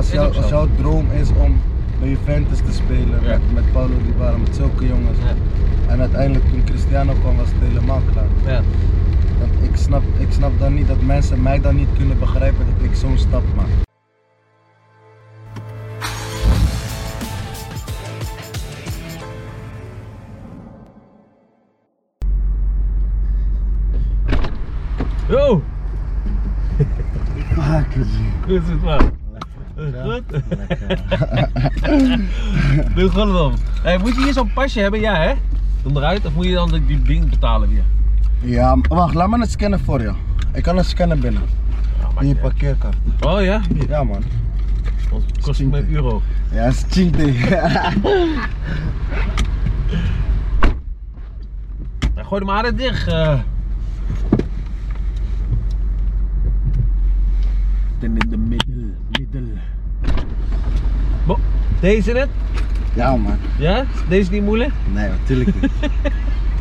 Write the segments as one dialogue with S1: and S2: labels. S1: is
S2: jou-
S1: ook zo.
S2: als jouw droom is om bij Juventus te spelen
S1: Ja.
S2: met, met Paulo Dybala, met zulke jongens.
S1: Ja.
S2: En uiteindelijk toen Cristiano kwam was het helemaal klaar.
S1: Ja.
S2: Want ik snap, ik snap dan niet dat mensen mij dan niet kunnen begrijpen dat ik zo'n stap maak.
S1: Yo,
S2: Ah, Akkertje.
S1: hoe is het man? Is het Goed? Doe goed man. Hey, moet je hier zo'n pasje hebben? Ja hè? Dan eruit of moet je dan die- die ding betalen weer?
S2: Ja, maar wacht, laat me het scannen voor jou. Ik kan het scannen binnen. In je parkeerkaart.
S1: Oh ja?
S2: Ja man.
S1: Dat kost me een euro.
S2: Ja, dat is cheat
S1: Nou, gooi de maar dicht. eh.
S2: in de middel, middel.
S1: Bo- Deze net?
S2: Ja man.
S1: Ja? Is Deze niet moeilijk?
S2: Nee, natuurlijk niet.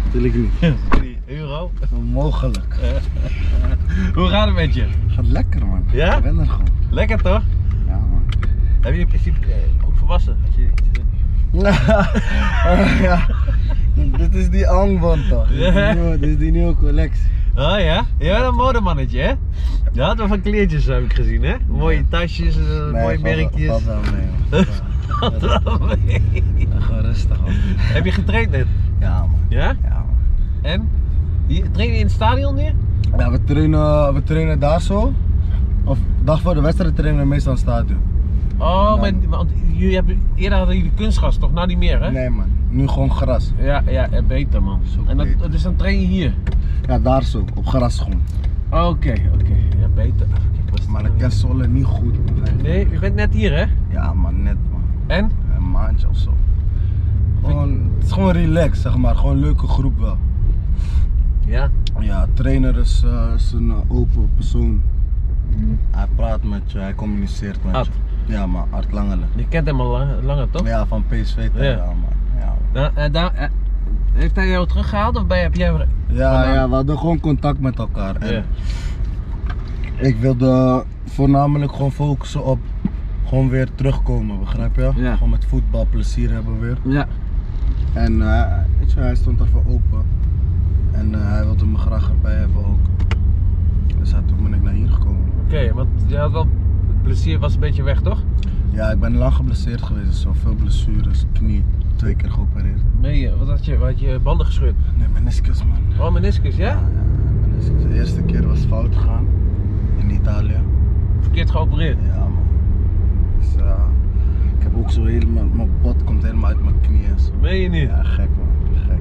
S2: Natuurlijk niet.
S1: 3 euro.
S2: Onmogelijk.
S1: Hoe gaat het met je?
S2: Gaat lekker man.
S1: Ja?
S2: Ik ben er gewoon.
S1: Lekker toch?
S2: Ja man.
S1: Heb je, is je eh, ook volwassen? Had je-
S2: ja. Dit is die angband toch? Dit is die nieuwe- Dit is die nieuwe collectie.
S1: Oh ja? Je bent een modemannetje hè? Je had wel van kleertjes heb ik gezien hè? Mooie tasjes, eh, mooie
S2: valt wel-
S1: merkjes.
S2: Valt wel mee man.
S1: Valt wel mee.
S2: Ja, Gewoon rustig man.
S1: Heb je getraind net?
S2: Ja man.
S1: Ja?
S2: Ja man.
S1: En? Je train je in het stadion neer?
S2: Ja, we trainen, we trainen daar zo. Of dag voor de wedstrijd trainen we meestal in het stadion.
S1: Oh,
S2: Ja.
S1: maar, want jullie hebben, eerder hadden jullie kunstgras toch? Nou niet meer hè?
S2: Nee man, nu gewoon gras.
S1: Ja, ja, eh, beter man.
S2: Zo
S1: en dat,
S2: beter.
S1: dus dan train je hier?
S2: Ja, daar zo, op gras gewoon.
S1: Oké, oké. Ja, beter. Kijk, wat is
S2: Maar
S1: dit
S2: ik
S1: nou
S2: ken Zwolle niet goed. man.
S1: weer? Nee, je bent net hier hè?
S2: Ja man, net man.
S1: En?
S2: Een maandje of zo. Gewoon, het is gewoon relaxed zeg maar, gewoon een leuke groep wel.
S1: Ja.
S2: Ja, trainer is, eh, is een eh, open persoon.
S1: Mhm.
S2: Hij praat met je, hij communiceert met
S1: Ad.
S2: je. Ja man, Art Langele.
S1: Je kent hem al lang- langer toch?
S2: Ja, van PSV. Ja,
S1: Ja.
S2: ja man. Ja, man.
S1: Nou, eh, daar, eh, heeft hij jou teruggehaald of ben, heb jij weer...
S2: Ja,
S1: Vandaan.
S2: ja, we hadden gewoon contact met elkaar. En
S1: Ja.
S2: Ik wilde voornamelijk gewoon focussen op gewoon weer terugkomen, begrijp je?
S1: Ja.
S2: Gewoon met voetbal plezier hebben weer.
S1: ja.
S2: En eh, weet je, hij stond daarvoor open. En eh, hij wilde me graag erbij hebben ook. Dus ja, toen ben ik naar hier gekomen.
S1: Oké, want je had wel... Het plezier was een beetje weg toch?
S2: Ja, ik ben lang geblesseerd geweest. Zo veel blessures, knie, twee keer geopereerd.
S1: Nee, eh, wat had je? Wat had je banden gescheurd?
S2: Nee, meniscus man.
S1: Oh, meniscus, ja?
S2: meniscus. De eerste keer was fout gegaan in Italië.
S1: Verkeerd geopereerd.
S2: Ja man. Dus eh, ik heb ook zo helemaal, mijn pot komt helemaal uit mijn knieën. zo.
S1: Meen je niet?
S2: Ja, gek man, gek.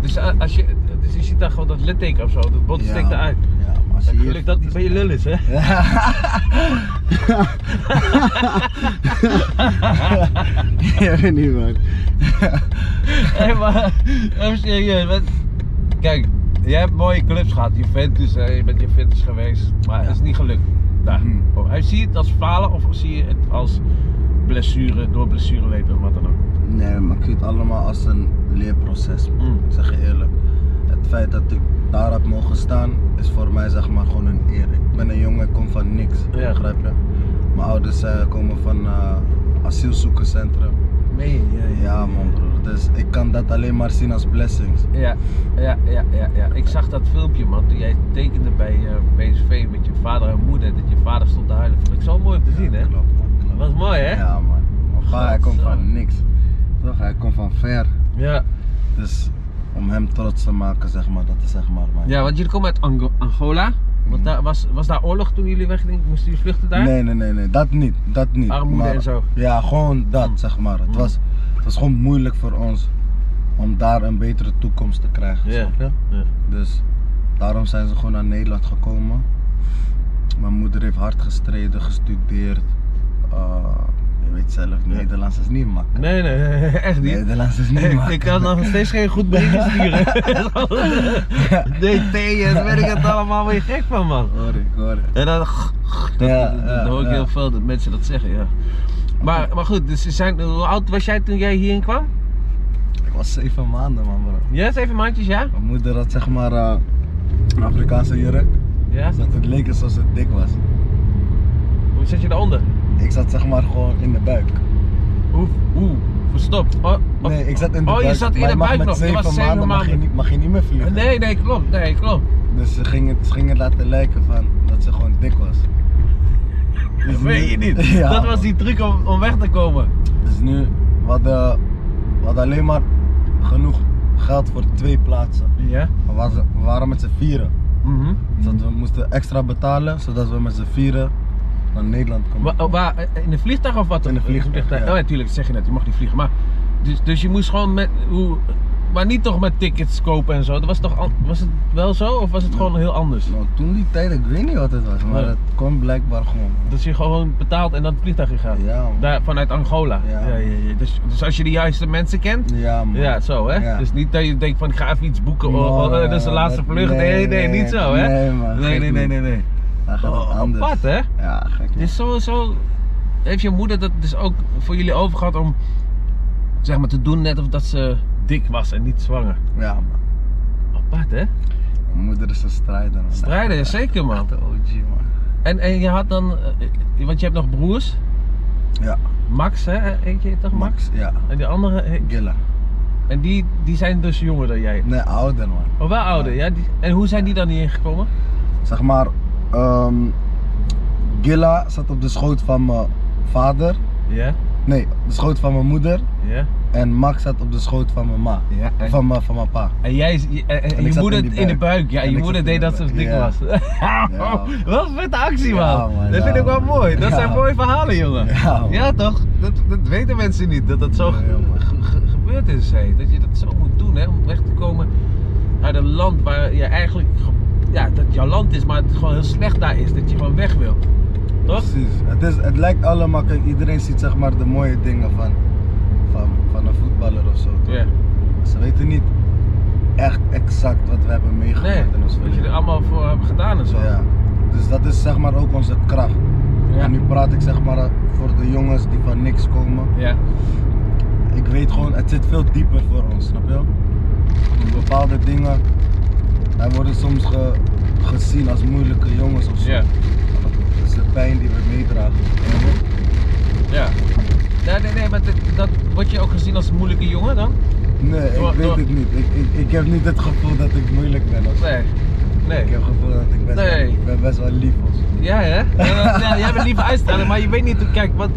S1: Dus, eh, als je, dus je ziet daar gewoon dat litteken of zo, dat bot
S2: Ja,
S1: steekt eruit.
S2: man. Ja, maar als je
S1: En
S2: hier-
S1: geluk dat niet bij je lul is, hè?
S2: Ja, weet niet man.
S1: Hé, maar even serieus. want- Kijk, jij hebt mooie clubs gehad. Juventus, hè, je bent Juventus geweest, maar het is niet gelukt. Daar.
S2: Hmm.
S1: Oh, hij Zie je het als falen of zie je het als blessure, door blessure of wat dan ook?
S2: Nee, maar ik zie het allemaal als een leerproces. man.
S1: Mm.
S2: Ik zeg je eerlijk. Het feit dat ik daar heb mogen staan, is voor mij zeg maar gewoon een eer. Ik ben een jongen, ik kom van niks.
S1: Ja.
S2: Begrijp je? Mijn ouders eh, komen van eh asielzoekerscentrum.
S1: Nee, ja,
S2: Ja man broer, dus ik kan dat alleen maar zien als blessings.
S1: Ja, ja, ja, ja, ja. Ik zag dat filmpje, man, toen jij tekende bij eh, PSV met je vader en moeder, dat je vader stond te huilen. Vond ik zo mooi om te zien, hè?
S2: Klopt man, klopt.
S1: Was mooi, hè?
S2: Ja man. Mijn vader, hij komt
S1: Godzo.
S2: van niks. Toch, hij komt van ver.
S1: Ja.
S2: Dus om hem trots te maken zeg maar, dat is zeg maar mijn...
S1: Ja, want jullie komen uit Ango- Angola. Want
S2: Mhm.
S1: daar was, was daar oorlog toen jullie weggingen? Moesten jullie vluchten daar?
S2: Nee, nee, nee, nee, dat niet, dat niet.
S1: Armoede en zo.
S2: Ja, gewoon dat,
S1: Mm.
S2: zeg maar. Het,
S1: Mm.
S2: was, het was gewoon moeilijk voor ons om daar een betere toekomst te krijgen,
S1: Ja,
S2: snap je?
S1: ja.
S2: Dus daarom zijn ze gewoon naar Nederland gekomen. Mijn moeder heeft hard gestreden, gestudeerd. Eh, je weet zelf, Nederlands is niet makkelijk.
S1: Nee, nee, nee, echt niet.
S2: Nederlands is niet
S1: Ik-
S2: makkelijk.
S1: ik kan nog steeds geen goed berichtje sturen. DT, en weet ik het allemaal weer gek van, man.
S2: Hoor ik, hoor ik.
S1: En dan, g- g- dat,
S2: Ja,
S1: dat- dat
S2: ja,
S1: hoor ik
S2: ja.
S1: heel veel dat mensen dat zeggen, ja. Maar, maar goed, dus ze zijn, hoe oud was jij toen jij hierin kwam?
S2: Ik was zeven maanden, man, bro.
S1: Ja, zeven maandjes, ja?
S2: Mijn moeder had zeg maar eh, een Afrikaanse jurk, Dus
S1: Ja.
S2: zodat het leek alsof ze dik was.
S1: Hoe zat je daaronder?
S2: Ik zat maar gewoon in de buik.
S1: Hoe? Hoe? Verstopt? Oh, of-
S2: Nee, ik zat in de
S1: Oh,
S2: buik.
S1: je zat in
S2: maar
S1: de
S2: mag
S1: buik
S2: met
S1: nog. Je
S2: zeven
S1: was zeven
S2: maanden mag je,
S1: maanden.
S2: niet, mag je niet meer vliegen.
S1: Nee, nee, klopt. Nee, klopt.
S2: Dus ze ging, het, ze ging het laten lijken van dat ze gewoon dik was.
S1: Dat
S2: Dus
S1: weet je
S2: nu-
S1: niet.
S2: Ja,
S1: Dat
S2: man.
S1: was die truc om, om weg te komen.
S2: Dus nu, we hadden, we hadden alleen maar genoeg geld voor twee plaatsen.
S1: Ja.
S2: We waren, we waren met z'n vieren.
S1: Mhm.
S2: Dus dat we moesten extra betalen, zodat we met z'n vieren naar Nederland konden.
S1: Wa- oh, waar, eh, in een vliegtuig of wat?
S2: In een vliegtuig, ja.
S1: Oh, natuurlijk zeg je net, je mag niet vliegen. Maar, dus, dus je moest gewoon met. Hoe, maar niet toch met tickets kopen en zo. Dat was, toch, al- was het wel zo of was het gewoon heel anders?
S2: Nou, toen die tijd, ik weet niet wat het was, maar
S1: Ja.
S2: het kwam blijkbaar gewoon.
S1: Dat je gewoon betaalt en dan het vliegtuig in gaat.
S2: Ja, man.
S1: Daar, vanuit Angola.
S2: Ja.
S1: Dus, dus als je de juiste mensen kent.
S2: Ja, man.
S1: Ja, zo hè.
S2: Ja.
S1: Dus niet dat je denkt van ik ga even iets boeken.
S2: Nee,
S1: Oh, oh, eh, dat is de laatste
S2: dat-
S1: vlucht. Nee, nee,
S2: nee, nee,
S1: niet zo hè.
S2: nee, man,
S1: nee,
S2: gek
S1: nee, nee,
S2: niet.
S1: nee, nee.
S2: Daar gaat het
S1: Oh,
S2: anders.
S1: apart hè.
S2: Ja, gek. man.
S1: Dus sowieso heeft je moeder dat dus ook voor jullie overgehad om zeg maar te doen net of dat ze dik was en niet zwanger.
S2: Ja, man.
S1: Apart hè?
S2: Mijn moeder is een strijder, man.
S1: Strijder,
S2: Echt-
S1: zeker, man.
S2: echt een OG, man.
S1: En, en je had dan, eh, want je hebt nog broers,
S2: Ja,
S1: Max hè, eentje heet toch Max?
S2: Max, ja.
S1: En die andere, eh,
S2: Gilla.
S1: en die, die zijn dus jonger dan jij.
S2: Nee, ouder, man.
S1: Oh, wel ouder, ja? Die- en hoe zijn die dan hierheen gekomen?
S2: zeg maar, ehm, Gilla zat op de schoot van mijn vader.
S1: Ja,
S2: Nee, op de schoot van mijn moeder.
S1: ja.
S2: En Max zat op de schoot van mijn ma.
S1: ja en,
S2: Van mijn, van mijn pa.
S1: en jij, is- je- en, en
S2: En ik
S1: je
S2: zat
S1: moeder
S2: in
S1: in,
S2: die
S1: de
S2: buik.
S1: buik. Ja,
S2: En
S1: je
S2: ik
S1: moeder
S2: zat in
S1: deed
S2: de
S1: dat ze
S2: buik.
S1: dik
S2: Ja.
S1: was. Wat een vette actie, man.
S2: Ja, man,
S1: dat
S2: ja,
S1: vind ik wel
S2: man.
S1: mooi. Dat
S2: Ja.
S1: zijn mooie verhalen, jongen.
S2: Ja, man.
S1: toch? Dat, dat weten mensen niet, dat dat zo
S2: Nee,
S1: ge-
S2: man.
S1: ge- ge- gebeurd is. hè. Dat je dat zo moet doen, hè? om weg te komen uit een land waar je eigenlijk... ge- Ja, dat jouw land is, maar het gewoon heel slecht daar is. Dat je gewoon weg wil. Toch?
S2: Precies. Het, is, het lijkt allemaal, kijk, iedereen ziet zeg maar de mooie dingen van, van, van een voetballer of zo. toch?
S1: Ja.
S2: Ze weten niet echt exact wat we hebben meegemaakt
S1: Nee,
S2: in ons
S1: wat je er
S2: verleden.
S1: allemaal voor hebt gedaan en zo.
S2: Ja. Dus dat is zeg maar ook onze kracht.
S1: Ja.
S2: En nu praat ik zeg maar voor de jongens die van niks komen.
S1: Ja.
S2: ik weet gewoon, het zit veel dieper voor ons, snap je? Bepaalde dingen, wij worden soms ge- gezien als moeilijke jongens of zo.
S1: Ja.
S2: Dat is de pijn die we meedragen.
S1: Ja. Nee, nee, nee, maar dat, dat word je ook gezien als een moeilijke jongen dan?
S2: Nee, ik
S1: Door-
S2: weet
S1: door-
S2: het niet. Ik, ik, ik heb niet het gevoel dat ik moeilijk ben of zo.
S1: Nee. Nee.
S2: Ik heb het gevoel dat ik best,
S1: Nee.
S2: wel, ik ben best wel lief of zo.
S1: Ja, hè? Ja, ja, jij bent lieve uitstraling, maar je weet niet, kijk, want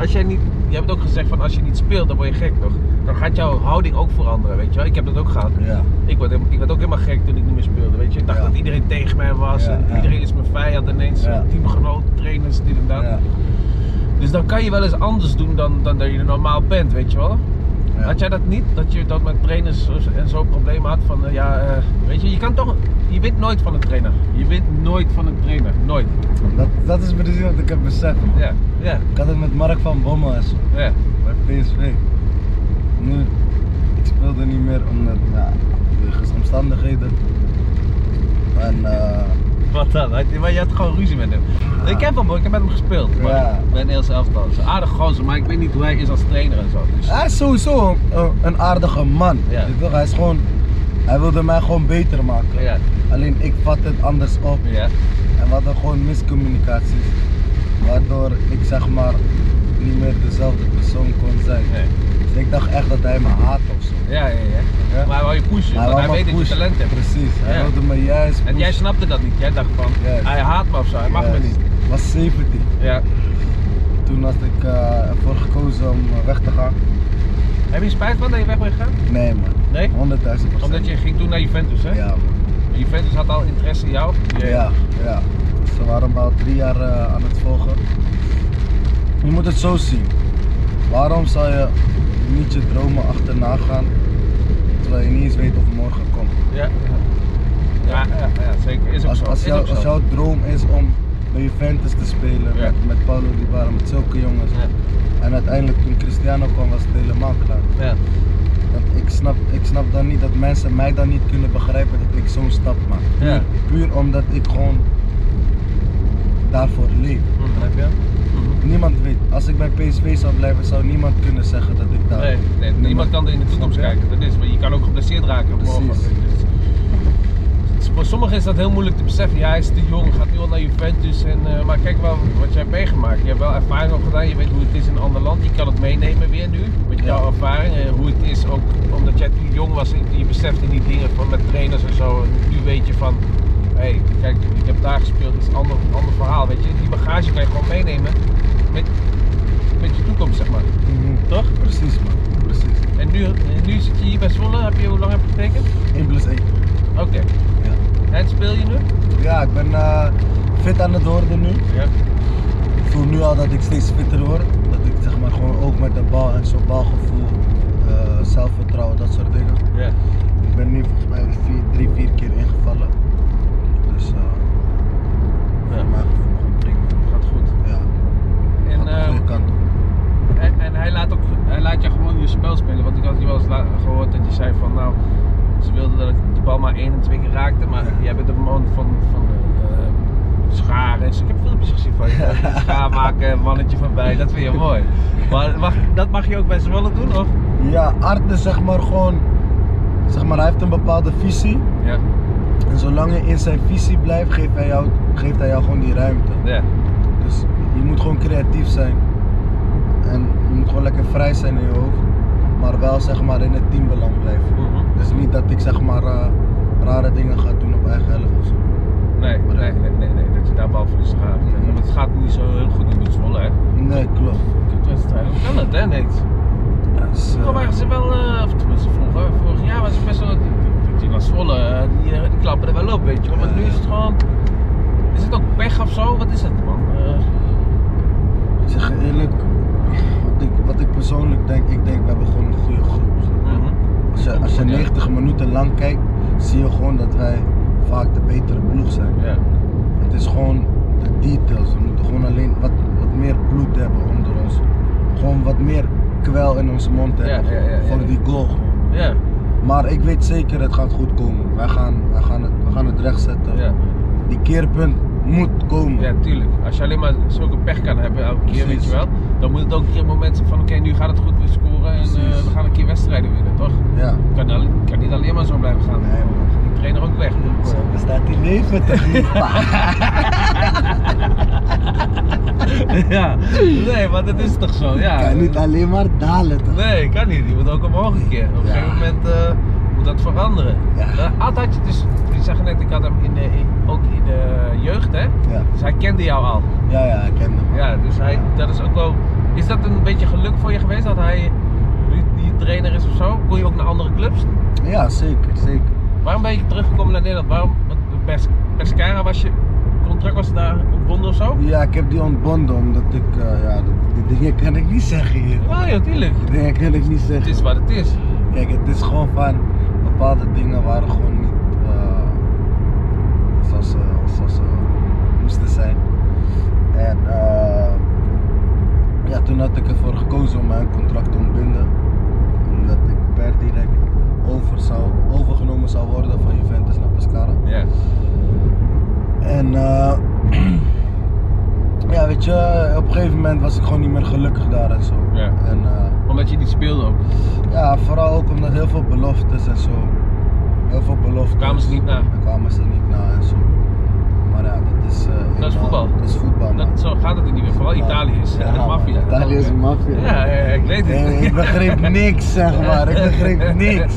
S1: als jij niet, je hebt ook gezegd van als je niet speelt, dan word je gek, toch? Dan gaat jouw houding ook veranderen, weet je wel? Ik heb dat ook gehad.
S2: Ja,
S1: Ik werd, helemaal- ik werd ook helemaal gek toen ik niet meer speelde, weet je? Ik dacht
S2: Ja.
S1: dat iedereen tegen mij was
S2: Ja,
S1: en
S2: ja.
S1: iedereen is mijn vijand, ineens
S2: Ja.
S1: teamgenoten, trainers, dit en dat.
S2: ja,
S1: Dus dan kan je wel eens anders doen dan, dan dat je normaal bent, weet je wel?
S2: ja.
S1: Had jij dat niet? Dat je dat met trainers zo- en zo problemen had van, eh, ja, eh, weet je, je kan toch, je wint nooit van een trainer. Je wint nooit van een trainer, nooit.
S2: Dat, dat is precies wat ik heb beseft. man.
S1: Ja, ja,
S2: Ik had het met Mark van Bommel en zo.
S1: ja.
S2: bij PSV. Nu, ik speelde niet meer omdat, ja, wegens omstandigheden. En, eh,
S1: Wat dan? Had- Maar je had gewoon ruzie met hem. Ik heb hem, hoor, ik heb met hem gespeeld. Maar
S2: Ja.
S1: Bij een heel elftal. Ze aardig gozer, maar ik weet niet hoe hij is als trainer en zo. Dus,
S2: hij is sowieso een, een- een aardige man.
S1: Ja.
S2: Je weet toch, Hij is gewoon, hij wilde mij gewoon beter maken.
S1: ja,
S2: Alleen ik vat het anders op
S1: ja,
S2: en we hadden gewoon miscommunicaties. Waardoor ik zeg maar niet meer dezelfde persoon kon zijn.
S1: nee.
S2: Dus ik dacht echt dat hij me haat of zo.
S1: ja, ja, ja.
S2: Ja.
S1: Maar hij wou je pushen, want
S2: wou
S1: hij
S2: me
S1: weet dat je
S2: pushen.
S1: talent hebt.
S2: Precies, hij
S1: Ja.
S2: wilde me juist
S1: En jij snapte dat niet. Jij dacht van,
S2: Juist.
S1: hij haat me of zo, hij mag me niet.
S2: Ik was 17.
S1: Ja.
S2: Toen had ik eh, ervoor gekozen om eh, weg te gaan.
S1: Heb je spijt van dat je weg bent gegaan?
S2: Nee man,
S1: Nee?
S2: 100.000 procent.
S1: Omdat je ging toen naar Juventus, hè?
S2: Ja man.
S1: Juventus had al interesse in jou. Je-
S2: Ja, ja. Ze waren me al drie jaar eh, aan het volgen. Je moet het zo zien. Waarom zou je niet je dromen achterna gaan terwijl je niet eens weet of morgen komt?
S1: Ja. Ja, ja, ja, zeker. Is ook
S2: Als,
S1: zo.
S2: als,
S1: Is
S2: jou-
S1: ook zo.
S2: als jouw droom is om bij Juventus te spelen
S1: Ja.
S2: met, met Paulo Dybala, met zulke jongens.
S1: Ja.
S2: En uiteindelijk toen Cristiano kwam was het helemaal klaar.
S1: Ja.
S2: Dat ik, snap, ik snap dan niet dat mensen mij dan niet kunnen begrijpen dat ik zo'n stap maak.
S1: Ja.
S2: Puur omdat ik gewoon daarvoor leef.
S1: Hm, heb je? Mhm.
S2: Niemand weet, als ik bij PSV zou blijven, zou niemand kunnen zeggen dat ik daar.
S1: Nee, nee,
S2: nummer-
S1: niemand kan er in de toekomst
S2: Snap je?
S1: kijken. Dat is, maar je kan ook geblesseerd raken. morgen.
S2: Precies.
S1: Dus- dus voor sommigen is dat heel moeilijk te beseffen. Ja, hij is te jong, gaat nu al naar Juventus. En, eh, maar kijk wel wat jij hebt meegemaakt. Je hebt wel ervaring opgedaan, je weet hoe het Duitsland. Je kan het meenemen weer nu, met
S2: Ja.
S1: jouw ervaring en hoe het is. Ook omdat jij toen jong was, en je besefte die dingen van met trainers en zo. En nu weet je van, hé, hey, kijk, ik heb daar gespeeld, dat is een ander, ander verhaal, weet je. Die bagage kan je gewoon meenemen met, met je toekomst, zeg maar. Toch?
S2: Mhm. Precies man, precies.
S1: En nu, en nu zit je hier bij Zwolle, heb je, hoe lang heb je getekend?
S2: 1 plus 1.
S1: Oké.
S2: Ja.
S1: En speel je nu?
S2: Ja, ik ben eh, fit aan het worden nu.
S1: Ja.
S2: Ik voel nu al dat ik steeds fitter word. Dat ik zeg maar gewoon ook met de bal en zo'n balgevoel, eh, zelfvertrouwen, dat soort dingen.
S1: Ja.
S2: Ik ben nu volgens mij vier, drie, vier keer ingevallen. Dus eh
S1: Ja.
S2: voor mijn gevoel gewoon prima.
S1: Gaat goed.
S2: Ja,
S1: En,
S2: gaat de
S1: ehm,
S2: goede kant op.
S1: En, en hij, laat ook, hij laat je gewoon je spel spelen. Want ik had je wel eens la- gehoord dat je zei van nou, ze wilden dat ik de bal maar één en twee keer raakte. Maar
S2: Ja.
S1: jij bent de man van, van eh, scharen. Dus ik heb filmpjes gezien van je. Schaar maken, mannetje van bij, dat vind je mooi. Maar mag, dat mag je ook bij Zwolle doen of?
S2: Ja, Art is zeg maar gewoon, zeg maar hij heeft een bepaalde visie.
S1: Ja,
S2: En zolang je in zijn visie blijft, geeft hij jou, geeft hij jou gewoon die ruimte.
S1: ja,
S2: Dus je moet gewoon creatief zijn. En je moet gewoon lekker vrij zijn in je hoofd. Maar wel zeg maar in het teambelang blijven.
S1: Mhm.
S2: Dus niet dat ik zeg maar eh, rare dingen ga doen op eigen helft of zo.
S1: Nee, nee, nee, nee, nee, dat je daar bal voor gaat.
S2: Mhm.
S1: Want het gaat niet zo heel goed nu met Zwolle hè.
S2: Nee, klopt.
S1: Kutwedstrijd. Hoe kan dat hè, niks?
S2: Dus, eh,
S1: Vroeger waren ze wel, eh, of tenminste vroeger, vorig jaar was het best wel, die- die naar Zwolle, eh, die, eh, die klappen er wel op, weet je wel. Maar nu is het gewoon, is het ook pech of zo? Wat is het man? Eh,
S2: ik zeg je eerlijk, wat ik, wat ik persoonlijk denk, ik denk we hebben gewoon een goede groep. snap
S1: Eh,
S2: je? Als je, als je
S1: Ja.
S2: 90 minuten lang kijkt, zie je gewoon dat wij vaak de betere ploeg zijn.
S1: Ja,
S2: Het is gewoon de details. We moeten gewoon alleen wat, wat meer bloed hebben onder ons. Gewoon wat meer kwel in onze mond
S1: Ja,
S2: hebben.
S1: ja, ja, ja.
S2: voor die goal. gewoon.
S1: ja,
S2: Maar ik weet zeker, het gaat goed komen. Wij gaan, wij gaan, het, wij gaan het recht zetten.
S1: ja,
S2: Die keerpunt moet komen.
S1: ja, tuurlijk. Als je alleen maar zulke pech kan hebben elke keer, weet
S2: Precies.
S1: je wel, dan moet het ook een keer moment zijn van oké, nu gaat het goed, we scoren en eh,
S2: Precies.
S1: we gaan een keer wedstrijden winnen, toch?
S2: Ja.
S1: Kan, al- kan niet alleen maar zo blijven gaan.
S2: Nee, man.
S1: Dan gaat die trainer ook weg.
S2: Zo bestaat die leven toch niet? pa?
S1: ja, nee, maar dat is toch zo, ja.
S2: kan niet alleen maar dalen toch?
S1: Nee, kan niet. Je moet ook omhoog een keer. Op een
S2: Ja.
S1: gegeven moment eh, moet dat veranderen.
S2: Ja.
S1: Eh, Ad had je dus, je zag net, ik had hem in de, in- ook in de jeugd, hè?
S2: Ja,
S1: Dus hij kende jou al.
S2: ja, ja ik ken hem.
S1: Ja, dus hij, dat is ook wel. Is dat een beetje geluk voor je geweest dat hij nu die trainer is of zo? Kon je ook naar andere clubs?
S2: Ja, zeker, zeker.
S1: Waarom ben je teruggekomen naar Nederland? Waarom? Want Pes- Pescara was je contract was daar ontbonden of zo?
S2: Ja, ik heb die ontbonden omdat ik, eh, ja, die, die dingen kan ik niet zeggen hier.
S1: Ja, joh, tuurlijk.
S2: Die dingen kan ik niet
S1: Het
S2: zeggen.
S1: is wat het is.
S2: Kijk, het is gewoon van bepaalde dingen waren gewoon niet eh, zoals, eh, ze, zoals ze moesten zijn. En eh, ja, toen had ik ervoor gekozen om mijn contract te ontbinden. Omdat ik per direct over zou, overgenomen zou worden van Juventus naar Pescara.
S1: Ja.
S2: En eh, ja, weet je, op een gegeven moment was ik gewoon niet meer gelukkig daar en zo.
S1: Ja.
S2: En, eh,
S1: Omdat je niet speelde ook.
S2: ja, vooral ook omdat heel veel beloftes en zo. Heel veel beloftes.
S1: Kwamen ze niet na.
S2: Daar kwamen ze niet na en zo. Maar ja, dat is. eh, eenmaal-
S1: voetbal.
S2: Dat is voetbal. man.
S1: Dat, zo gaat het niet meer. Vooral Italië is eh,
S2: Ja,
S1: een maffia.
S2: Italië is een maffia.
S1: Ja, ja, ja, ik weet het.
S2: Nee, ik begreep niks, zeg maar. Ik begreep niks.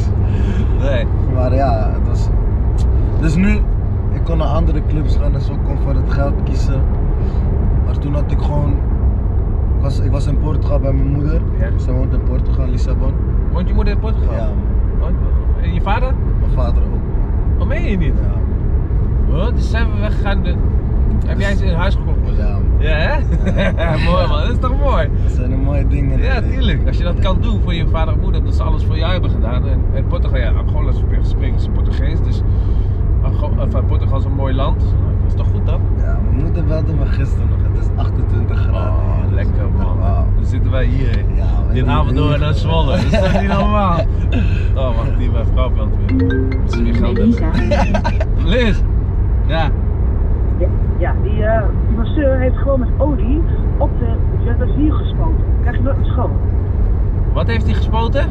S1: Nee.
S2: Maar ja, het was. Dus nu, ik kon naar andere clubs gaan en zo, ik kon voor het geld kiezen. Maar toen had ik gewoon. Ik was, ik was in Portugal bij mijn moeder.
S1: Ja.
S2: Ze woont in Portugal, Lissabon.
S1: Want je moeder in Portugal?
S2: Ja,
S1: Oh, En je vader?
S2: mijn vader ook.
S1: Waarom meen je niet?
S2: Ja.
S1: Huh? Dus zijn we weggegaan. de- Heb jij ze in huis gekocht?
S2: Ja,
S1: Ja, hè?
S2: Ja.
S1: mooi man, dat is toch mooi?
S2: dat zijn de mooie dingen.
S1: Ja, tuurlijk. Als je dat kan doen voor je vader en moeder, dat ze alles voor jou hebben gedaan. En, en Portugal, ja, Angola spreekt spreekt ze Portugees, dus Ango- of, eh, Portugal is een mooi land. Nou, Dat is toch goed dan?
S2: Ja, mijn moeder belde me gisteren nog. Het is 28 graden.
S1: Oh,
S2: hier.
S1: lekker man.
S2: Wauw.
S1: Dan zitten wij hier. hè.
S2: Ja, weet
S1: Dit
S2: je,
S1: avond door
S2: weet je.
S1: naar Zwolle. Dat is toch niet normaal? Oh, wacht, die mijn vrouw belt weer. Misschien weer geld
S3: Melissa.
S1: hebben. Liz! Ja.
S3: Ja, ja die, eh, die masseur heeft gewoon met olie op de jaloezie gespoten. Krijg je nooit schoon.
S1: Wat heeft hij gespoten?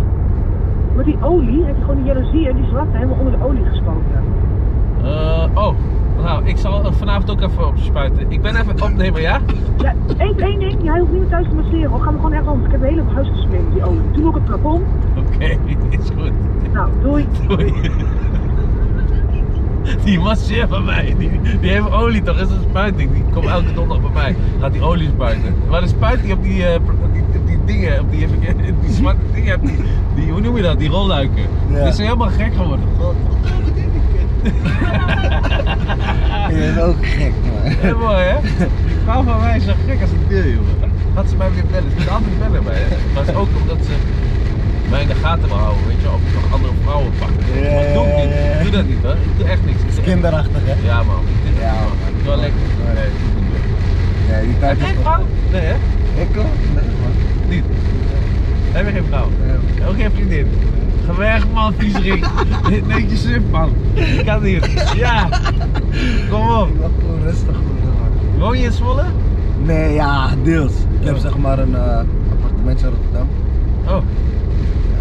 S3: Met die olie heeft hij gewoon die jaloezie en die zwarte helemaal onder de olie gespoten.
S1: Eh, oh, dat Nou, ik zal er vanavond ook even op spuiten. Ik ben even opnemer, ja?
S3: Ja, één, één ding, jij hoeft niet meer thuis te masseren hoor. Ga me gewoon echt rond. Ik heb het hele huis gesmeed, die olie. Toen ook het plafond.
S1: Oké, is goed.
S3: Nou, doei.
S1: Doei. Die masseer van mij, die, die heeft olie toch? Is een spuiting? Die komt elke donderdag bij mij. Gaat die olie spuiten. Maar dan spuit die op die, eh, op die, op die dingen, op die, die zwarte dingen, op die, die, hoe noem je dat? Die rolluiken.
S2: Ja.
S1: Die zijn helemaal gek geworden.
S2: Je bent ook gek, man.
S1: Heel mooi hè? Die vrouw van mij is zo gek als een deur, jongen. Had ze mij weer bellen, ze moet altijd bellen bij hè. Maar het is ook omdat ze mij in de gaten wil houden, weet je, of ik nog andere vrouwen pak.
S2: Ja,
S1: Maar doe ik
S2: ja,
S1: niet,
S2: ja, ja.
S1: Ik doe dat niet hoor, ik doe echt niks. Ik doe echt-
S2: Kinderachtig, hè?
S1: Ja man, ik doe dat
S2: Ja,
S1: niet, man.
S2: man.
S1: Ik doe wel lekker.
S2: Nee.
S1: Nee, ik doe het niet meer.
S2: Ja, die tijd
S1: Heb
S2: is
S1: jij een
S2: toch-
S1: vrouw? Nee hè?
S2: Ik hoor? Nee, man.
S1: Niet. Heb je geen vrouw?
S2: Nee.
S1: Ook geen vriendin? Ga weg man, viesrik. Neem je suf man. Ik kan niet. Ja. Kom op.
S2: Ik wil gewoon rustig worden, man.
S1: Woon je in Zwolle?
S2: Nee, ja, deels. Ik heb
S1: Ja.
S2: zeg maar een eh, appartementje in Rotterdam.
S1: Oh,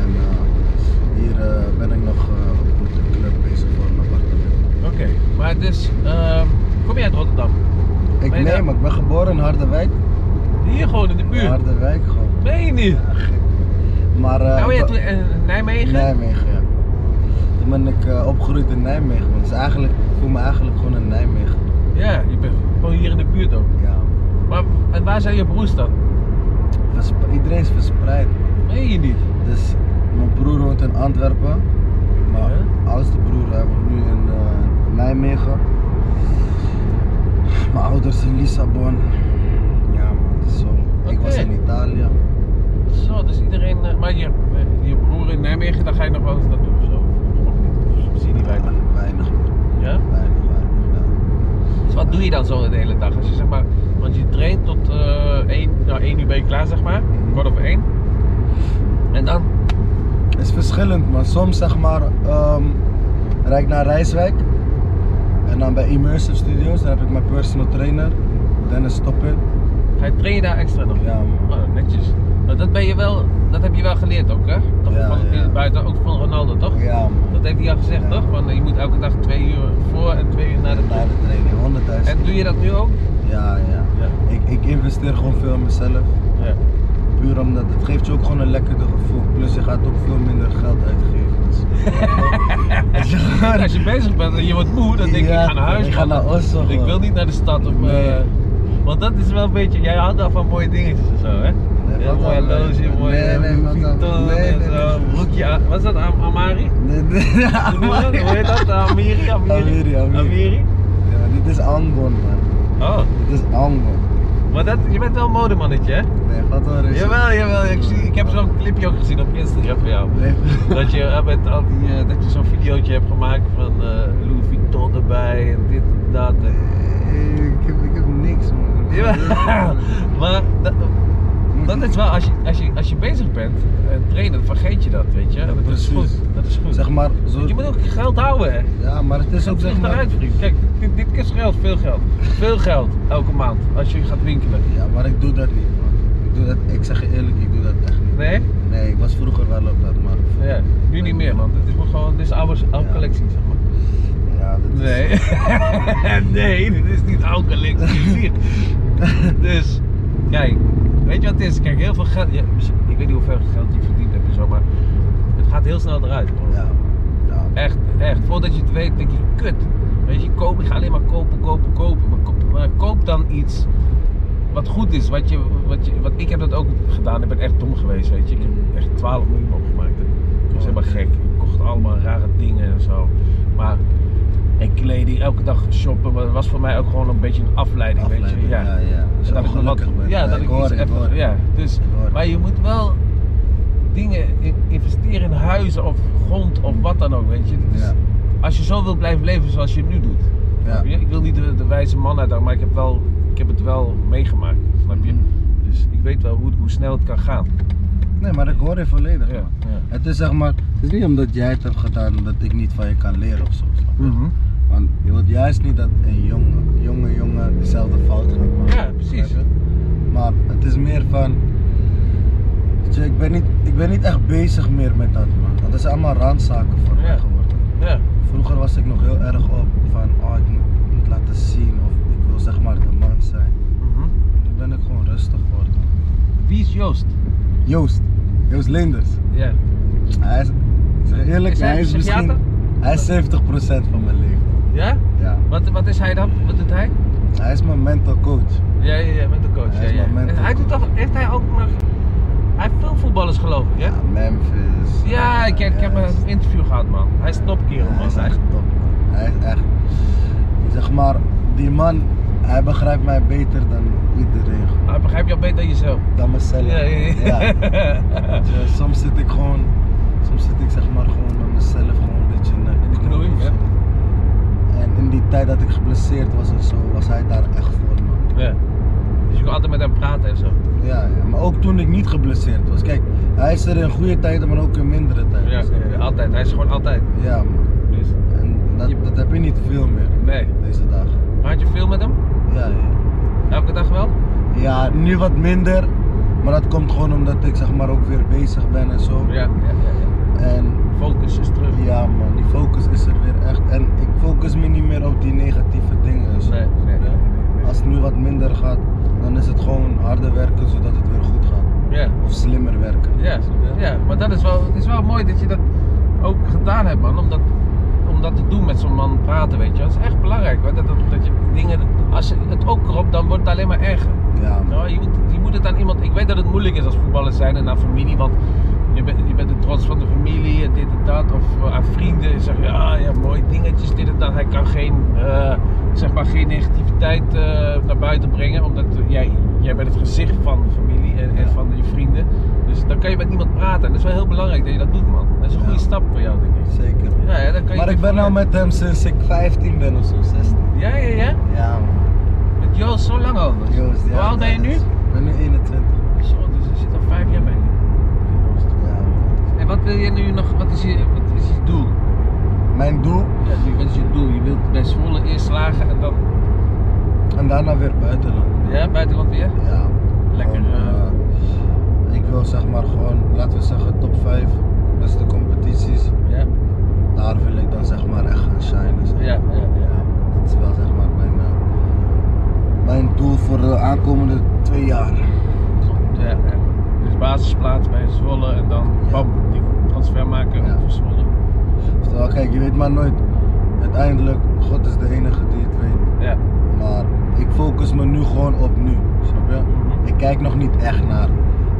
S2: En eh, hier eh, ben ik nog eh, met een club bezig voor een appartement.
S1: Oké, maar dus, ehm, kom je uit Rotterdam?
S2: Ik
S1: Ben je
S2: nee,
S1: daar-
S2: maar ik ben geboren in Harderwijk.
S1: Hier gewoon in de buurt?
S2: Harderwijk gewoon.
S1: Nee niet?
S2: Maar eh,
S1: oh ja,
S2: ik
S1: toen
S2: ben-
S1: in Nijmegen?
S2: Nijmegen, ja. Toen ben ik eh, opgegroeid in Nijmegen. Want het is eigenlijk, ik voel me eigenlijk gewoon in Nijmegen.
S1: Ja, je bent gewoon hier in de buurt ook.
S2: Ja.
S1: Maar en waar zijn je broers dan?
S2: Versp- iedereen is verspreid.
S1: Meen je niet?
S2: Dus mijn broer woont in Antwerpen. Mijn
S1: Ja.
S2: oudste broer hij woont nu in eh, Nijmegen. Mijn ouders in Lissabon. Ja man, het is zo. Ik was
S1: Oké.
S2: in Italië.
S1: Zo, dus iedereen... eh, maar je, eh, je broer in Nijmegen, daar ga je nog wel eens naartoe of zo? Of niet? Of Zie die wij
S2: Weinig, weinig,
S1: Ja?
S2: weinig, weinig.
S1: Dus wat doe je dan zo de hele dag? Als je zeg maar... Want je traint tot eh 1, nou, 1 uur ben je klaar zeg maar.
S2: Mhm.
S1: Kwart over 1. En dan?
S2: Het is verschillend man. Soms zeg maar ehm rijd ik naar Rijswijk. En dan bij Immersive Studios, daar heb ik mijn personal trainer. Dennis Stoppel.
S1: Ga je trainen daar extra nog?
S2: Ja man.
S1: Oh, netjes. Maar dat ben je wel, dat heb je wel geleerd ook, hè? Toch
S2: Ja,
S1: van het
S2: ja.
S1: in- buiten, ook van Ronaldo, toch?
S2: Ja man.
S1: Dat heeft hij al gezegd,
S2: Ja.
S1: toch? Van eh, je moet elke dag twee uur voor en twee uur naar de
S2: Naar
S1: tijd.
S2: de training, 100.000.
S1: En doe je dat nu ook?
S2: Ja, ja.
S1: Ja.
S2: Ik, ik investeer gewoon veel in mezelf.
S1: Ja.
S2: Puur omdat het geeft je ook gewoon een lekkerder gevoel. Plus je gaat ook veel minder geld uitgeven. Dus. Als je gewoon-
S1: Als je bezig bent en je wordt moe, dan denk je,
S2: Ja,
S1: ik ga naar huis.
S2: ik ga
S1: man.
S2: naar Oslo
S1: Ik
S2: gewoon.
S1: wil niet naar de stad of... eh,
S2: Nee.
S1: want dat is wel een beetje, jij houdt al van mooie dingetjes en zo, hè?
S2: Nee,
S1: Heel
S2: valt
S1: mooi
S2: wel mee.
S1: horloge, mooi
S2: Nee,
S1: eh,
S2: nee,
S1: Louis
S2: valt wel-
S1: Vuitton
S2: nee,
S1: en
S2: nee,
S1: zo,
S2: nee.
S1: broekje aan- Wat is dat, Am- Amari?
S2: Nee, nee, ja,
S1: Hoe noem je dat?
S2: maar-
S1: Hoe heet dat? Amiri?
S2: Amiri, Amiri.
S1: Amiri?
S2: Ja, dit is Angon, man.
S1: Oh.
S2: Dit is Angon.
S1: Maar dat, je bent wel een modemannetje, hè?
S2: Nee, gaat wel rustig.
S1: Jawel, jawel. Ik, zie, ik heb zo'n clipje ook gezien op Instagram van jou.
S2: Nee.
S1: Dat je, eh, met al die, eh, dat je zo'n videootje hebt gemaakt van eh, Louis Vuitton erbij en dit en dat. En...
S2: Ik heb, ik heb niks, man.
S1: Jawel. Maar dat, dat is wel, als je, als je, als je bezig bent en trainen, vergeet je dat, weet je.
S2: Ja,
S1: dat is
S2: precies.
S1: goed. Dat is goed.
S2: Zeg maar, zo...
S1: Want je moet ook geld houden, hè.
S2: Ja, maar het is ook
S1: Het
S2: zeg
S1: vliegt
S2: maar...
S1: eruit, vriend. Kijk, dit, dit kost geld, veel geld. Veel geld, elke maand, als je gaat winkelen.
S2: Ja, maar ik doe dat niet, man. Ik doe dat, ik zeg je eerlijk, ik doe dat echt niet.
S1: Nee?
S2: Nee, ik was vroeger wel op dat, maar...
S1: Ja, nu niet meer, man. Dit is gewoon, dit is oude, oude
S2: Ja.
S1: collectie, zeg maar.
S2: Ja, dat is...
S1: Nee. nee, dit is niet alcoholic. dus, kijk, weet je wat het is? Kijk, heel veel geld. ja, ik weet niet hoeveel geld je verdiend hebt en zo, maar het gaat heel snel eruit. bro.
S2: Ja. ja.
S1: Echt, echt. Voordat je het weet, denk je: kut. Weet je, koop, ik ga alleen maar kopen, kopen, kopen. Maar koop, maar koop dan iets wat goed is. Wat je, wat je, wat, ik heb dat ook gedaan. Ik ben echt dom geweest, weet je. Ik
S2: Mm.
S1: heb echt 12 miljoen opgemaakt. hè.
S2: Oh,
S1: Dat was helemaal gek. Ik kocht allemaal rare dingen en zo. Maar, en kleding, elke dag shoppen. Maar dat was voor mij ook gewoon een beetje een afleiding, weet
S2: Afleiding,
S1: je. Ja,
S2: ja, ja. Als je
S1: dat ik wat-
S2: ongelukkig bent.
S1: Ja,
S2: Ja,
S1: dat
S2: ik
S1: ik
S2: hoor,
S1: iets
S2: ik
S1: even-
S2: hoor.
S1: Ja, dus,
S2: Ik hoor.
S1: maar je moet wel dingen in- investeren in huizen of grond of wat dan ook, weet je. Dit is-
S2: Ja.
S1: Als je zo wilt blijven leven zoals je nu doet.
S2: Ja.
S1: Snap je? Ik wil niet de, de wijze man uit, maar ik heb, wel, ik heb het wel meegemaakt, snap je?
S2: Mhm.
S1: Dus ik weet wel hoe, hoe snel het kan gaan.
S2: Nee, maar ik hoor je volledig, man. Het is zeg maar... Het is niet omdat jij het hebt gedaan dat ik niet van je kan leren of zo, snap je?
S1: Mhm.
S2: Want je wilt juist niet dat een jongen, jonge jongen dezelfde fout gaat maken.
S1: Ja, precies.
S2: Snap je? Maar het is meer van... Weet je, ik ben niet, ik ben niet echt bezig meer met dat, man. Dat is allemaal randzaken voor
S1: Ja.
S2: mij geworden.
S1: Ja.
S2: Vroeger was ik nog heel erg op van, oh ik moet, ik moet laten zien of ik wil zeg maar de man zijn.
S1: Mhm.
S2: Nu ben ik gewoon rustig geworden.
S1: Wie is Joost?
S2: Joost, Joost Linders.
S1: Ja.
S2: Hij is, ik zeg eerlijk,
S1: Is hij
S2: hij is
S1: een
S2: misschien hij is 70% van mijn leven.
S1: Ja?
S2: Ja.
S1: Wat, wat is hij dan? Wat doet hij?
S2: Hij is mijn mental coach.
S1: Ja, ja, ja, met de coach.
S2: Hij is
S1: ja, ja.
S2: mijn mentor.
S1: En hij doet toch, heeft hij ook nog. Hij heeft veel voetballers geloof ik, hè?
S2: Ja, Memphis.
S1: Ja, ik, ik heb
S2: hij is-
S1: een interview gehad, man. Hij is topkerel, man.
S2: Hij is echt top. man. Hij is echt. Zeg maar, die man, hij begrijpt mij beter dan iedereen.
S1: Hij begrijpt jou beter dan jezelf.
S2: Dan mezelf.
S1: Ja, ja, ja.
S2: Weet je, soms zit ik gewoon, soms zit ik zeg maar gewoon met mezelf gewoon een beetje in de,
S1: de knoei,
S2: knoop of
S1: ja.
S2: zo. En in die tijd dat ik geblesseerd was en zo, was hij daar echt voor man.
S1: Ja. Dus je kan altijd met hem praten en zo.
S2: Ja, ja, maar ook toen ik niet geblesseerd was. Kijk, hij is er in goede tijden, maar ook in mindere tijden.
S1: Ja,
S2: snap je?
S1: ja, altijd. Hij is gewoon altijd.
S2: Ja, man.
S1: Dus,
S2: En dat,
S1: Je-
S2: dat heb je niet veel meer
S1: nee.
S2: deze dagen.
S1: Maar had je veel met hem?
S2: Ja, ja.
S1: Elke dag wel?
S2: Ja, nu wat minder. Maar dat komt gewoon omdat ik zeg maar ook weer bezig ben en zo.
S1: Ja, ja, ja. ja.
S2: En
S1: Focus is terug.
S2: ja man, die focus is er weer echt. En ik focus me niet meer op die negatieve dingen. en zo.
S1: Nee, nee, nee, nee, nee.
S2: Als het nu wat minder gaat, dan is het gewoon harder werken zodat het weer goed gaat.
S1: Ja.
S2: Of slimmer werken.
S1: Ja, ja, maar dat is wel, het is wel mooi dat je dat ook gedaan hebt, man. Om dat, om dat te doen met zo'n man praten, weet je. wel. Dat is echt belangrijk, hoor. Dat, dat, dat je dingen, als je het ook kropt, dan wordt het alleen maar erger.
S2: Ja man.
S1: Nou, je, moet, je moet het aan iemand, ik weet dat het moeilijk is als voetballers zijn en aan familie, want je bent, je bent de trots van de familie en dit en dat. Of eh, aan vrienden, je zegt ja, ja, mooie dingetjes, dit en dat. Hij kan geen, eh, zeg maar, geen negativiteit eh, naar buiten brengen, omdat jij, jij bent het gezicht van de familie en, en
S2: Ja.
S1: van je vrienden. Dus dan kan je met niemand praten. En dat is wel heel belangrijk dat je dat doet, man. Dat is een
S2: Ja.
S1: goede stap voor jou, denk ik.
S2: Zeker.
S1: Ja, ja, dan kan je
S2: Maar ik ben nou met hem sinds ik 15 ben of zo, 16.
S1: Ja, ja, ja.
S2: Ja man.
S1: Met Joost zo lang al. dus.
S2: Joost, ja,
S1: Hoe oud ben je
S2: nee,
S1: nu?
S2: dat is- Ik ben nu 21.
S1: Zo, dus er zit al vijf jaar bij. Joost.
S2: Ja man.
S1: En wat wil je nu nog, wat is je, wat is je doel?
S2: Mijn doel,
S1: Ja, nu, wat is je doel? Je wilt bij Zwolle eerst slagen en dan
S2: en daarna weer buitenland.
S1: ja, buitenland weer?
S2: Ja.
S1: Lekker,
S2: gewoon,
S1: eh,
S2: eh, ik wil zeg maar gewoon, laten we zeggen, top 5 beste competities.
S1: Ja,
S2: Daar wil ik dan zeg maar echt gaan shinen. zeg.
S1: ja, ja. ja.
S2: Dat is wel zeg maar mijn, eh, mijn doel voor de aankomende twee jaar.
S1: Goed, ja, ja. Dus basisplaats bij Zwolle en dan
S2: Ja.
S1: bam, die transfer maken
S2: Ja.
S1: voor Zwolle.
S2: Oftewel, kijk, je weet maar nooit. Uiteindelijk, God is de enige die het weet.
S1: Ja.
S2: Maar ik focus me nu gewoon op nu. Snap je?
S1: Mhm.
S2: Ik kijk nog niet echt naar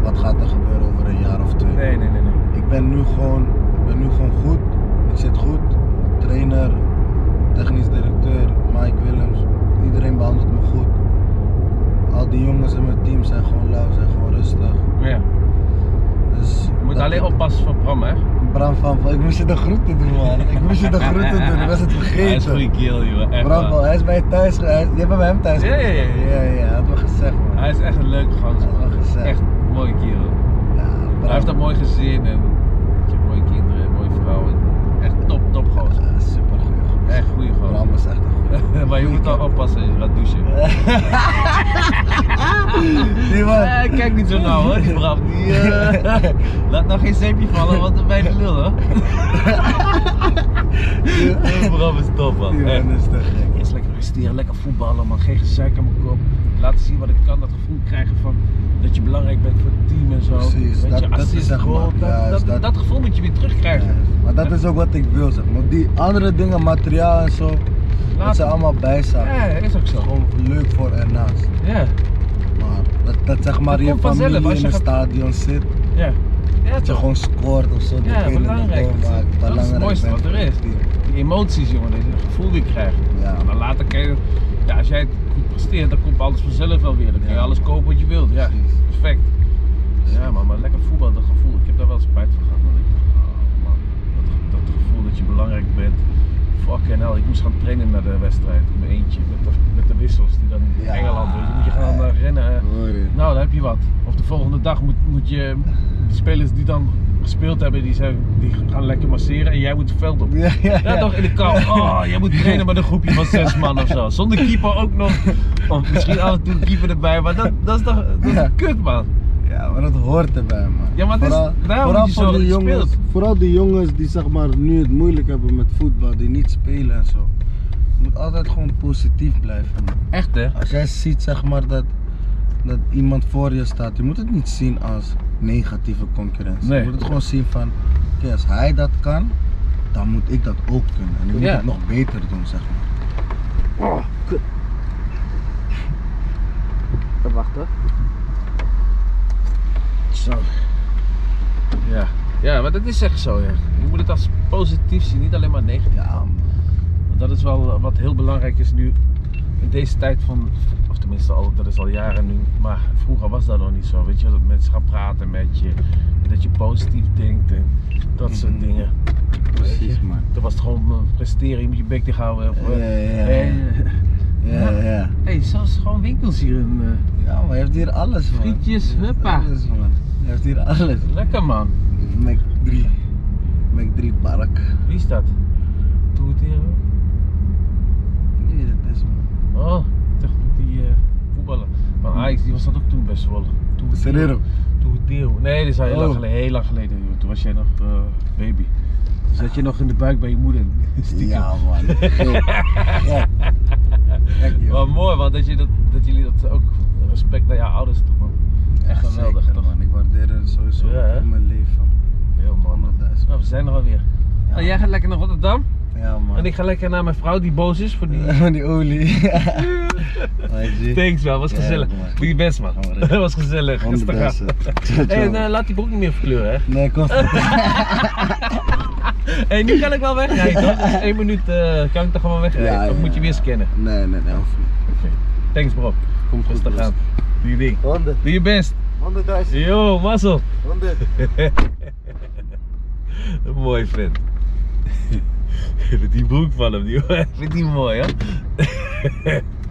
S2: wat gaat er gebeuren over een jaar of twee.
S1: Nee, nee, nee, nee.
S2: Ik ben nu gewoon, ik ben nu gewoon goed. Ik zit goed. Trainer, technisch directeur, Mike Willems. Iedereen behandelt me goed. Al die jongens in mijn team zijn gewoon lauw, zijn gewoon rustig.
S1: Ja.
S2: Dus
S1: Je moet
S2: dat-
S1: alleen oppassen voor Bram, hè?
S2: Bram van, ik moest je de groeten doen man. Ik moest je de groeten doen, ik was het
S1: Hij is een goede
S2: vergeten.
S1: keel, joh. Echt
S2: Bram
S1: waar.
S2: van, hij is bij je thuis, ge- hij, je hebt bij hem thuis
S1: Ja, ja, ja,
S2: gestaan. ja,
S1: ja.
S2: ja, hij had me gezegd man.
S1: Hij is echt een leuke gozer.
S2: Dat is wel gezellig.
S1: Echt een mooie kerel.
S2: Ja, Bram.
S1: Hij heeft een mooi gezin en weet je, mooie kinderen, mooie vrouwen. Echt top, top gozer.
S2: Ja, supergoeie gozer.
S1: Echt goede gozer.
S2: Bram is echt een goeie
S1: maar je moet wel oppassen als je gaat douchen.
S2: Die man.
S1: Eh, kijk niet zo nauw hoor, die Bram. Die, eh, laat nou geen zeepje vallen, want dan ben je de lul hoor. Eh, Bram is top man.
S2: Die
S1: Echt.
S2: man is te gek.
S1: Eerst lekker resteren, lekker voetballen man. Geen gezeik aan mijn kop. Laten zien wat ik kan, dat gevoel krijgen van dat je belangrijk bent voor het team en zo.
S2: Precies,
S1: Weet
S2: dat-
S1: je,
S2: dat is
S1: assist,
S2: zeg maar,
S1: goal, dat,
S2: juist,
S1: dat,
S2: dat-
S1: dat gevoel moet je weer terugkrijgen.
S2: Ja, Maar dat is ook wat ik wil zeg. Maar die andere dingen, materiaal en zo,
S1: Laat-
S2: dat zijn allemaal bijzaken.
S1: Ja, is ook zo.
S2: Gewoon leuk voor ernaast.
S1: Ja,
S2: Maar dat, dat zeg maar
S1: Dat
S2: je
S1: komt vanzelf,
S2: familie
S1: als je
S2: in het
S1: gaat-
S2: stadion zit,
S1: ja. Ja,
S2: dat je
S1: toch.
S2: gewoon scoort of zo.
S1: Ja,
S2: dat je
S1: belangrijk.
S2: goal
S1: Dat is-
S2: maakt,
S1: dat is het
S2: belangrijk
S1: mooiste
S2: bent
S1: wat er
S2: voor het
S1: is.
S2: team.
S1: Die emoties jongen, dat je het gevoel weer krijgt.
S2: Ja,
S1: Maar later kan je, ja, als jij het goed presteert, dan komt alles vanzelf wel weer. Dan kun je
S2: Ja.
S1: alles kopen wat je wilt. Ja,
S2: Precies.
S1: perfect. Ja, man, maar lekker voetbal, dat gevoel. Ik heb daar wel spijt van gehad. Want ik dacht, oh man, dat, dat gevoel dat je belangrijk bent. Fucking hell, ik moest gaan trainen naar de wedstrijd. In mijn eentje, met de, met de wissels die dan in
S2: Ja.
S1: Engeland. Weet je, moet je gaan eh, rennen. hè.
S2: hoor je.
S1: Nou, dan heb je wat. Of de volgende dag moet, moet je de spelers die dan gespeeld hebben, die, zijn, die gaan lekker masseren en jij moet het veld op.
S2: Ja, ja,
S1: Ja, toch in de kou. Oh, jij moet trainen met een groepje van zes man of zo. Zonder keeper ook nog. Of misschien af en toe een keeper erbij, maar dat, dat is toch dat is kut, man.
S2: Ja, maar dat hoort erbij, man.
S1: Ja, maar het is- daarom dat je zo
S2: die jongens,
S1: speelt.
S2: vooral die jongens die zeg maar, nu het moeilijk hebben met voetbal, die niet spelen en zo. moet altijd gewoon positief blijven. man.
S4: Echt hè?
S2: Als jij ziet zeg maar dat, dat iemand voor je staat, je moet het niet zien als negatieve concurrentie.
S4: Nee.
S2: Je moet het gewoon zien van, oké, als hij dat kan, dan moet ik dat ook kunnen. En ik moet
S4: Ja.
S2: het nog beter doen zeg maar.
S4: Oh, kut. Even wachten.
S2: Zo.
S1: Ja. ja, maar dat is echt zo. Ja. Je moet het als positief zien, niet alleen maar negatief.
S2: Ja man.
S1: Want dat is wel eh, wat heel belangrijk is nu in deze tijd van, of tenminste al, dat is al jaren nu, maar vroeger was dat nog niet zo. Weet je, dat mensen gaan praten met je, en dat je positief denkt en dat soort
S2: Mhm.
S1: dingen.
S2: Precies man.
S1: Toen was het gewoon eh, presteren, je moet je bek dicht houden. Of,
S2: Ja,
S1: eh,
S2: ja,
S1: en,
S2: ja.
S1: eh,
S2: Ja, ja, ja.
S4: Hé, zelfs gewoon winkels hier in. eh,
S2: Ja, maar hij heeft hier alles man.
S4: Frietjes,
S2: Hij heeft
S4: huppa.
S2: Alles man. Hij heeft hier alles.
S1: lekker man.
S2: Mac 3. Mac 3 Park.
S1: Wie is dat? Toeteren?
S2: Nee, dat is man.
S1: Oh, ik dacht die eh, voetballer van Ajax, die was dat ook toen best wel.
S2: Serrero.
S1: Toetero. Nee, dat is al heel, lang
S2: Oh.
S1: geleden, heel lang geleden. joh. Toen was jij nog eh, baby. Toen zat je nog in de buik bij je moeder. Stiekem.
S2: Ja man. Gek. Gek. Gek, joh.
S1: Wat mooi, want dat, je dat, dat jullie dat ook respect naar jouw ouders toe man. Echt
S2: Ja,
S1: geweldig,
S2: zeker,
S1: toch?
S2: man. Ik waardeer het sowieso
S1: Ja, hè?
S2: in mijn leven.
S1: Heel mooi man.
S2: 100.000.
S1: Nou, we zijn er alweer.
S2: Ja,
S1: Nou, jij gaat lekker naar Rotterdam
S2: ja man.
S1: en ik ga lekker naar mijn vrouw die boos is voor die.
S2: Van die olie. Weet je?
S1: Thanks man, was
S2: Ja,
S1: gezellig.
S2: mooi.
S1: Doe je best man.
S2: Ja, maar dat-
S1: Dat was gezellig. Gisteravond.
S2: 100.000. Ciao,
S1: Hé,
S2: ciao.
S1: En eh, laat die broek niet meer verkleuren hè.
S2: Nee, kom.
S1: Hé, nu kan ik wel wegrijden hoor. Dat is één minuut, eh, kan ik toch gewoon wegrijden?
S2: Ja,
S1: of
S2: ja,
S1: moet je
S2: ja.
S1: weer scannen?
S2: Nee, nee, nee. hoeft niet.
S1: Thanks bro.
S2: Komt goed,
S1: Rustig
S2: Rustig
S1: aan. Doe je ding.
S2: 100.
S1: Doe je best.
S2: 100.000.
S1: Yo, mazzel.
S2: 100.
S1: Mooi vent. Met die broek van hem, die, vind die mooi hè?